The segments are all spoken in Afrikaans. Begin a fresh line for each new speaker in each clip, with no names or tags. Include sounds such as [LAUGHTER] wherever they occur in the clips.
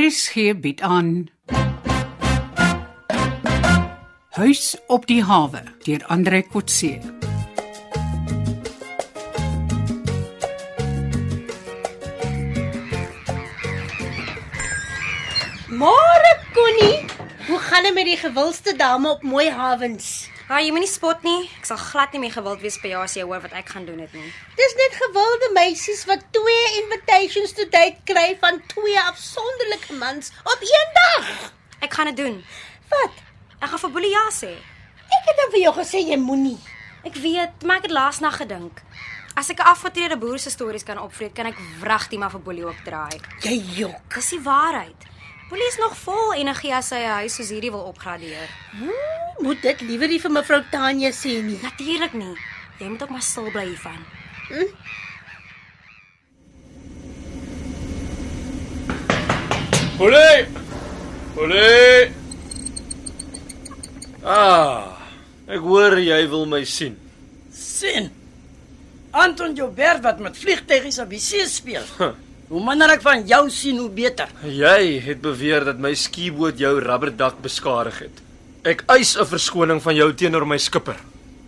RSG bied aan Huis op die hawe deur Andre Kotse.
Môre Connie, hoe gaan dit met die gewildste dame op Mooi Havens?
Ha, Nou, jy moenie spot nie. Ek sal glad nie meer gewild wees by jou as jy hoor wat ek gaan doen het nie.
Dis net gewilde meisies wat twee invitations to date kry van twee afsonderlike mans op een dag.
Ek gaan dit doen.
Wat?
Ek gaan vir Boelie ja sê.
Ek het dan vir jou gesê jy moenie.
Ek weet, maar ek het laas nag gedink. As ek 'n afgetrede boer se stories kan opvreet, kan ek wragtig maar vir Boelie ook draai.
Jy jok.
Dis die waarheid. Boelie is nog vol energie as hy 'n huis soos hierdie wil opgradeer.
Hmm, moet dit liewer nie vir mevrou Tanya sê nie.
Natuurlik nie. Jy moet ook maar stil bly hiervan.
Olé! Olé! Ah, ek hoor jy wil my sien.
Sien. Anton Joubert wat met vliegtuigies op die see speel.
Huh.
Hoe minder ek van jou sien, hoe beter.
Jy het beweer dat my skieboot jou rubberdak beskadig het. Ek eis 'n verskoning van jou teenoor my skipper.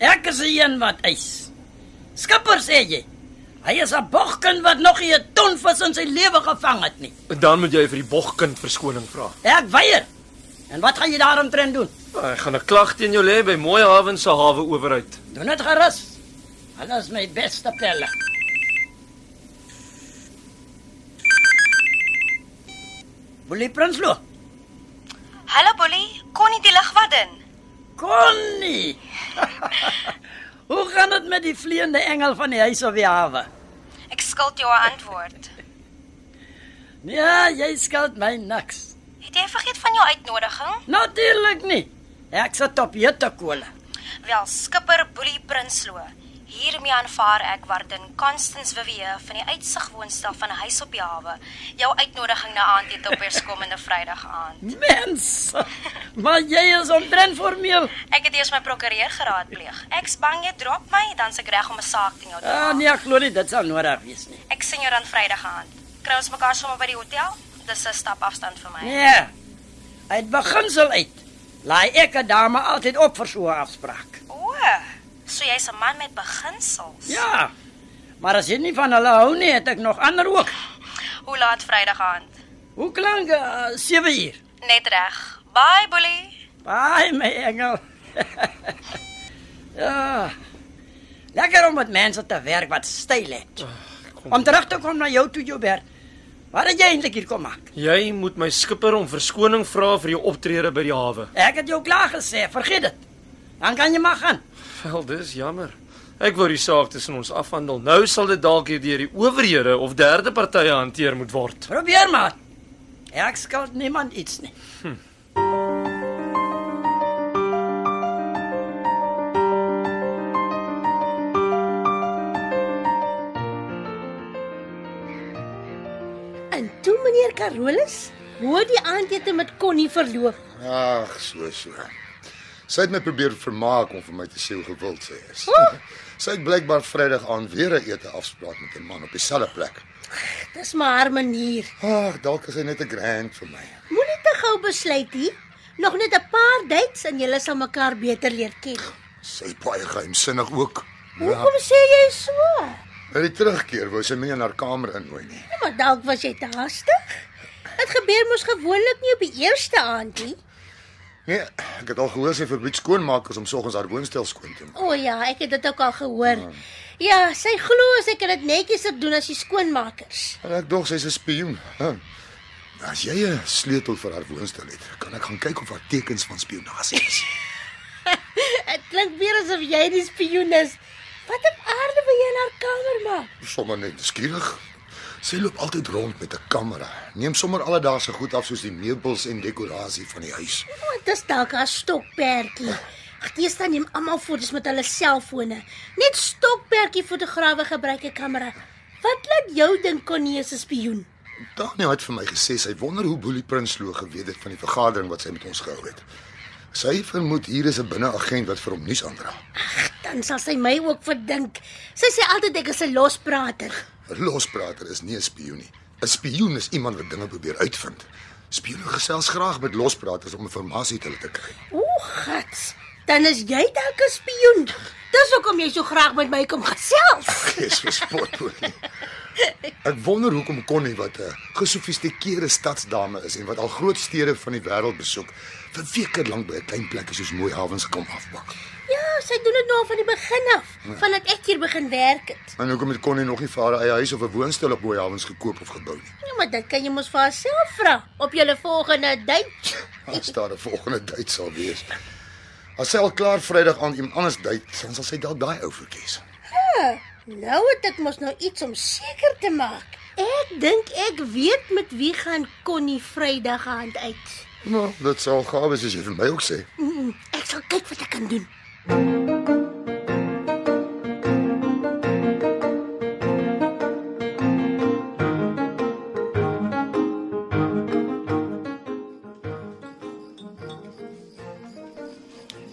Ek is die een wat eis. Skipper sê jy. Hy is 'n bogkin wat nog nie 'n ton vis in sy lewe gevang het nie.
Dan moet jy vir die bogkind verskoning vra.
Ek weier. En wat gaan jy daaromtrent doen?
Ek gaan 'n klag teen jou lê by Mooi Haven se hawe owerheid.
Doen dit gerus. Hulle is my beste pelle. Boelie Prinsloo.
Hallo Boelie, kon nie die lig wat in.
Connie. [LAUGHS] Hoe gaan dit met die vleiende engel van die huis op die hawe?
Ek skuld jou 'n antwoord.
Ja, jy skuld my niks.
Het jy vergeet van jou uitnodiging?
Natuurlik nie. Ek sit op jette kolle.
Wel, skipper Boelie Prinsloo. Hiermee aanvaar ek waardin Constance Vivier van die uitsig woonstel van 'n huis op die hawe jou uitnodiging na aandete op eerskomende Vrydag aand.
Mens. [LAUGHS] Maar jy is omtrent formeel.
Ek het eers my prokureur geraadpleeg. Ek's bang jy drop my, dan's ek reg om 'n saak teen jou te
Ah,
maak.
nee, ek glo nie dit sal nodig wees nie.
Ek sien jou dan Vrydag aand. Kry ons mekaar sommer by die hotel? Dis 'n stap afstand vir my.
Nee. Uit beginsel uit. Laai ek 'n dame altyd op vir so 'n afspraak.
O, so jy's 'n man met beginsels.
Ja. Maar as jy nie van hulle hou nie, het ek nog ander ook.
Hoe laat Vrydag aand?
Hoe klink uh, 7 uur?
Net reg. Bye, Boelie.
Baai my engel. [LAUGHS] ja. Lekker om met mense te werk wat styl het. Om terug te kom na jou toe Joubert. Wat het jy eintlik hier kom maak?
Jy moet my skipper om verskoning vra vir jou optrede by die hawe.
Ek het jou klaar gesê, vergeet dit. Dan kan jy maar gaan.
Wel, dis jammer. Ek wou die saak tussen ons afhandel. Nou sal dit dalk hier deur die owerhede of derde partye hanteer moet word.
Probeer maar. Ek skuld niemand iets nie.
En toe meneer Carolus, hoe die aandete met Connie verloop.
Ag, so so. Sy het my probeer vermaak om vir my te sê hoe gewild sy is. [LAUGHS] Sy het blykbaar Vrydag aan weer 'n ete afspraak met 'n man op dieselfde plek.
Dis maar haar manier.
Ag, dalk is hy net 'n grand vir my.
Moenie te gou besluit hier. Nog net 'n paar dates en julle sal mekaar beter leer ken.
Sy is baie geheimsinnig ook.
Hoekom sê jy so?
By die terugkeer wou sy my nie in haar kamer innooi nie.
Ja, maar dalk was jy te haastig. Dit gebeur mos gewoonlik nie op die eerste aand nie.
Nee, ek het al gehoor sy fabriek skoonmaak is om soggens haar woonstel skoon te maak.
O ja, ek het dit ook al gehoor. Ja, sy glo as ek dit netjies sou doen as die skoonmakers. [LAUGHS]
En ek dog sy's 'n spioen. Huh. Nou, As jy 'n sleutel vir haar woonstel het, kan ek gaan kyk of daar tekens van spionasie is.
Dit klink weer asof jy die spioen is. Wat op aarde wil jy in haar kamer maak?
Sommer net skierig. Sy loop altyd rond met 'n kamera. Neem sommer alledaagse goed af soos die meubels en dekorasie van die huis.
O, dit is dalk haar stokperdjie. Gees dan neem almal foto's met hulle selfone. Net stokperdjie fotograwe gebruik 'n kamera. Wat laat jou dink Connie is 'n spioen?
Tanya het vir my gesê sy wonder hoe Boelie Prinsloo geweet het van die vergadering wat sy met ons gehou het. Sy vermoed hier is 'n binneagent wat vir hom nuus aandra.
Dan sal sy my ook verdink. Sy sê altyd ek is 'n losprater.
'n Losprater is nie 'n spioen nie. 'n Spioen is iemand wat dinge probeer uitvind. Spioene gesels graag met lospraters om inligting te hulle te kry.
O, gats. Dan is jy dalk 'n spioen. Dis hoekom jy so graag met my kom gesels.
Dis gespot word. nie. Ek wonder hoekom Connie wat 'n gesofistikeerde stadsdame is en wat al groot stede van die wêreld besoek, vir weke lank by 'n klein plekkie soos Mooi Havens kom afbak.
Ja, sy doen dit nou al van die begin af, vandat ek hier begin werk het.
En hoekom het Connie nog nie vir haar eie huis of 'n woonstel op Mooi Havens gekoop of gebou nie?
Ja, maar dit kan jy mos vir haarself vra op julle volgende date.
As daar 'n volgende date sal wees. As sy al klaar Vrydag aan iemand anders date, dan sal sy dalk daai ou verkies.
Nou het ek mos nou iets om seker te maak. Ek dink ek weet met wie gaan Connie Vrydag aand uit.
Nou, dit sal gaaf wees as jy vir my ook sê.
Mm, Ek sal kyk wat ek kan doen.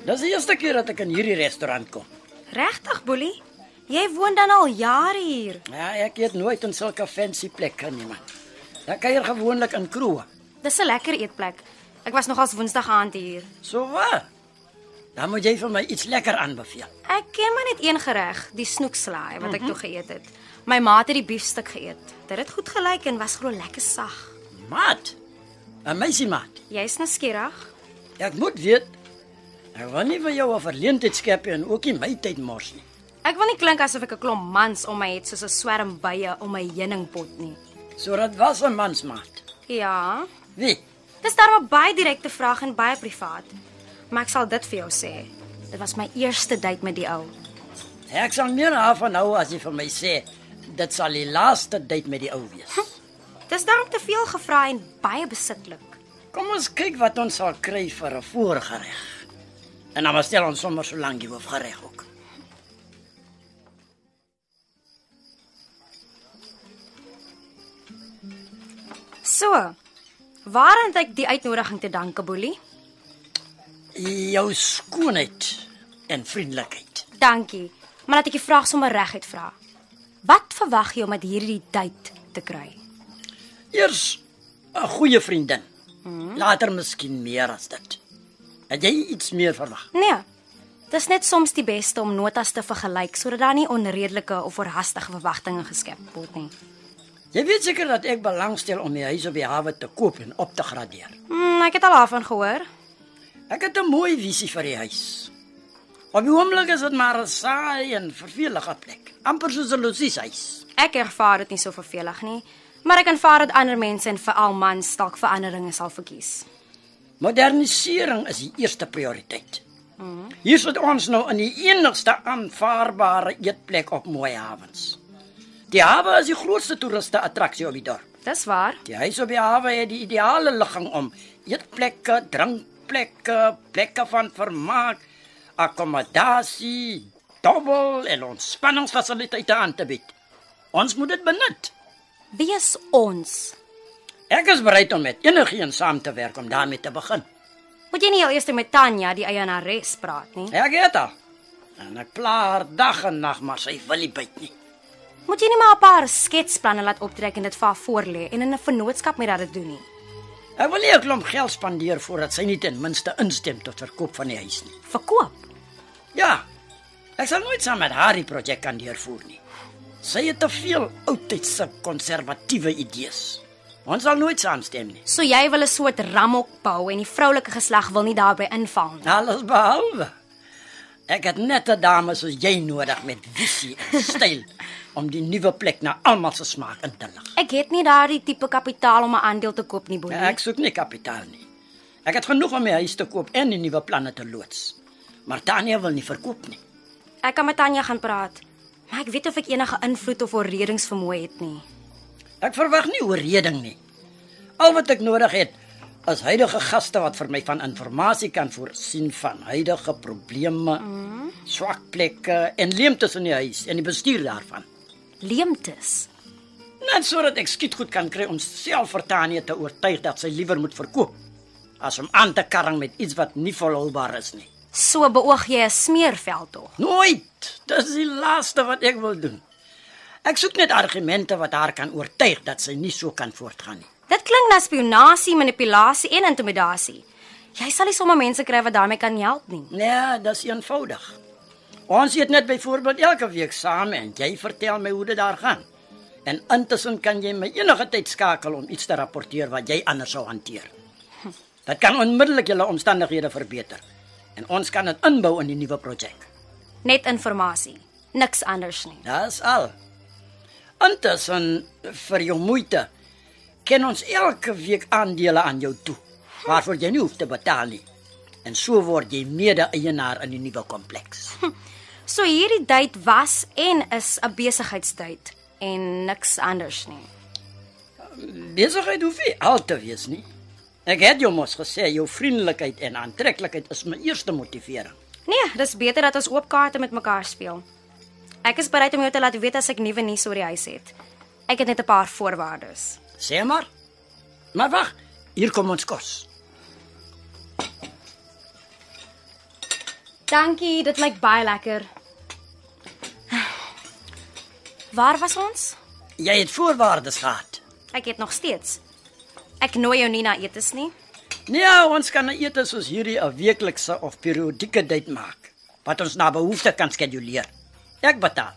Dis die eerste keer dat ek in hierdie restaurant kom.
Regtig, Boelie? Jy woon dan al jare hier.
Ja, ek eet nooit in sulke fancy plekke nie, man. Ek kuier gewoonlik in kroë.
Dis 'n lekker eetplek. Ek was nogals Woensdag aand hier.
So wat? Dan moet jy vir my iets lekker aanbeveel.
Ek ken maar net een gereg, die snoekslaai wat ek toe geëet het. My ma het die biefstuk geëet. Dit het goed gelyk en was glo lekker sag.
Maat. 'n Meisie maat.
Jy's nuuskierig.
Ek moet weet. Ek wil nie vir jou 'n verleentheid skep en ook nie my tyd mors nie.
Ek wil nie klink asof ek 'n klomp mans om my het soos 'n swerm bye om my heuningpot nie.
So dit was 'n mansmaat.
Ja,
Wie?
Dis daar 'n baie direkte vraag en baie privaat. Maar ek sal dit vir jou sê. Dit was my eerste date met die ou.
Ek sal meer daarvan hou as jy vir my sê dit sal die laaste date met die ou wees.
Dis daarom te veel gevra en baie besitlik.
Kom ons kyk wat ons sal kry vir 'n voorgereg. En dan bestel ons sommer so lank die hoofgereg ook.
So, waaraan het ek die uitnodiging te danke, Boelie?
Jou skoonheid en vriendelikheid.
Dankie. Maar laat ek die vraag sommer reguit vra. Wat verwag jy om met hierdie date te kry?
Eers 'n goeie vriendin. Later miskien meer as dit. Het jy iets meer verwag?
Nee. Dis net soms die beste om notas te vergelyk sodat daar nie onredelike of verhastige verwagtinge geskep word nie.
Jy weet seker dat ek belangstel om die huis op die hawe te koop en op te gradeer.
Mm, ek het al daarvan gehoor.
Ek het 'n mooi visie vir die huis. Op die oomblik is dit maar 'n saai en vervelige plek, amper soos 'n losieshuis.
Ek ervaar dit nie so vervelig nie, maar ek aanvaar dat ander mense en veral mans dalk veranderinge sal verkies.
Modernisering is die eerste prioriteit. Hier sit ons nou in die enigste aanvaarbare eetplek op Mooi Havens. Die hawe is die grootste toeriste attraksie op die dorp.
Dis waar.
Die huis op die hawe het die ideale ligging om eetplekke, drinkplekke, plekke van vermaak, akkommodasie, dobbel en ontspanningsfasiliteite aan te bied. Ons moet dit benut.
Wees ons.
Ek is bereid om met enigiemand saam te werk om daarmee te begin.
Moet jy nie heel eers met Tanya, die eienares, praat nie.
Ek het al. Ja, En ek pla haar dag en nag, maar sy wil nie byt nie.
Moet jy nie maar 'n paar sketsplanne laat optrek en dit vir haar voorlê en in 'n vennootskap met haar dit doen nie.
Ek wil nie 'n klomp geld spandeer voordat sy nie ten minste instem tot verkoop van die huis nie.
Verkoop.
Ja. Ek sal nooit saam met haar die projek kan deurvoer nie. Sy het te veel oudtydse konservatiewe idees. Ons sal nooit saamstem nie.
So jy wil 'n soort ramok bou en die vroulike geslag wil nie daarbey inval nie.
Alles behalwe. Ek het net 'n dame soos jy nodig met visie en styl om die nuwe plek na almal se smaak in te lig.
Ek het nie daardie tipe kapitaal om 'n aandeel te koop nie, Boelie.
Ja, Ek soek nie kapitaal nie. Ek het genoeg om my huis te koop en die nuwe planne te loods. Maar Tania wil nie verkoop nie.
Ek kan met Tanya gaan praat, maar ek weet of ek enige invloed of oorredingsvermoë het nie.
Ek verwag nie oorreding nie. Al wat ek nodig het is huidige gaste wat vir my van inligting kan voorsien van huidige probleme, mm. swak plekke en leemtes in die huis en die bestuur daarvan.
Leemtes.
Net sodat ek skiet goed kan kry om self vir Tanya te oortuig dat sy liewer moet verkoop as om aan te karring met iets wat nie volhoubaar is nie.
So beoog jy 'n smeerveld tog.
Nooit. Dis die laaste wat ek wil doen. Ek soek net argumente wat haar kan oortuig dat sy nie so kan voortgaan nie.
Dit klink na spionasie, manipulasie en intimidasie. Jy sal nie sommer mense kry wat daarmee kan help nie.
Ja, dis eenvoudig. Ons eet net byvoorbeeld elke week saam en jy vertel my hoe dit daar gaan. En intussen kan jy my enige tyd skakel om iets te rapporteer wat jy anders sou hanteer. Dit kan onmiddellik julle omstandighede verbeter en ons kan dit inbou in die nuwe projek.
Net inligting, niks anders nie.
Dis al. Intussen vir jou moeite ken ons elke week aandele aan jou toe waarvoor jy nie hoef te betaal nie. En so word jy mede-eienaar in die nuwe kompleks.
So hierdie date was en is 'n besigheidstyd en niks anders nie.
Besigheid hoef nie al te wees nie. Ek het jou mos gesê jou vriendelikheid en aantreklikheid is my eerste motivering.
Nee, dis beter dat ons oop kaarte met mekaar speel. Ek is bereid om jou te laat weet as ek nuwe nuus oor die huis het. Ek het net 'n paar voorwaardes.
Sê maar. Maar wag, hier kom ons kos.
Dankie, dit lyk baie lekker. Waar was ons?
Jy het voorwaardes gehad.
Ek het nog steeds. Ek nooi jou nie na etes nie.
Nee, ons kan 'n ete soos hierdie 'n weeklikse of periodieke date maak wat ons na behoefte kan skeduleer. Ek betaal.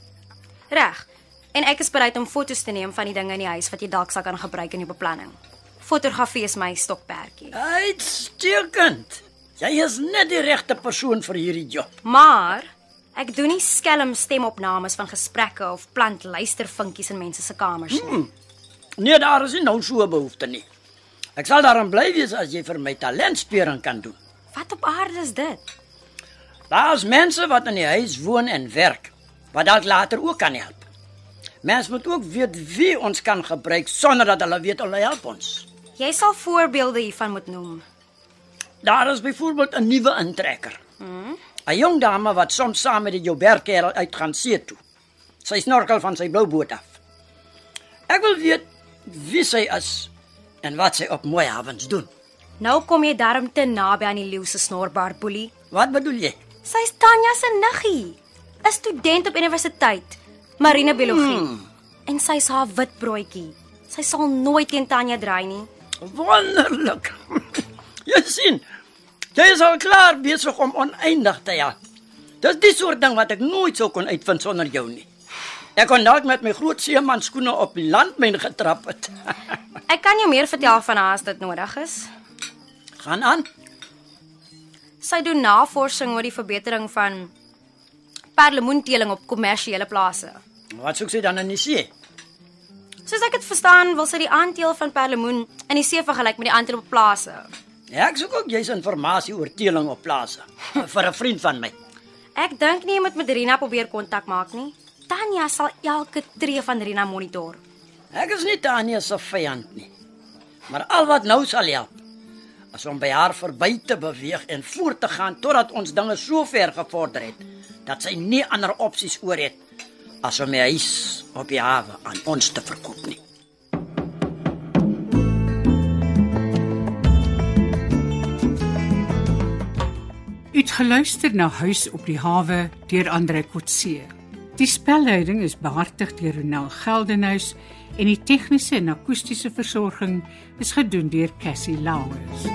Reg. En ek is bereid om foto's te neem van die dinge in die huis wat jy dalk sal kan gebruik in jou beplanning. Fotografie is my stokperdjie.
Uitstekend. Jy is net die regte persoon vir hierdie job.
Maar ek doen nie skelm stemopnames van gesprekke of plant luistervinkies in mense se kamers nie.
Nee, daar is nie nou so 'n behoefte nie. Ek sal daaraan bly wees as jy vir my talentspeuring kan doen.
Wat op aarde is dit?
Daar's mense wat in die huis woon en werk wat dalk later ook kan help. Mens moet ook weet wie ons kan gebruik sonder dat hulle weet hulle help ons.
Jy sal voorbeelde hiervan moet noem.
Daar is byvoorbeeld 'n nuwe intrekker. 'n mm. Jong dame wat soms saam met die Joubergkerel uitgaan see toe. Sy snorkel van sy blou boot af. Ek wil weet wie sy is en wat sy op mooi avonds doen.
Nou kom jy darm te naby aan die leeu se snorbaar boelie.
Wat bedoel jy?
Sy's Tanya se niggie, 'n student op universiteit, marinebiologie. Mm. En sy's haar witbroodjie. Sy sal nooit teen Tanya draai nie.
Wonderlik. [LAUGHS] Jy sien, jy is al klaar besig om oneindig te jag. Dis die soort ding wat ek nooit sou kon uitvind sonder jou nie. Ek kon dalk met my groot seeman skoene op die landmyn getrap het. [LAUGHS]
Ek kan jou meer vertel van haar as dit nodig is.
Gaan aan.
Sy doen navorsing oor die verbetering van perlemoenteeling op kommersiële plase.
Wat soek jy dan in die see?
Soos ek dit verstaan, wil sy die aanteel van perlemoen in die see vergelyk met die aanteel op plase.
Ja, ek soek ook jy's inligting oor teeling op plase [LAUGHS] vir 'n vriend van my.
Ek dink nie jy moet met Rina probeer kontak maak nie. Tanya sal elke tree van Rina monitor.
Ek is nie Tania se vyand nie. Maar al wat nou sal help is om by haar verby te beweeg en voort te gaan totdat ons dinge so ver gevorder het dat sy nie ander opsies oor het as om die huis op die hawe aan ons te verkoop nie.
U het geluister na Huis op die hawe deur Andre Kotse. Die spelleiding is behartig deur Ronel Geldenhuys en die tegniese en akoestiese versorging is gedoen deur Cassie Lauers.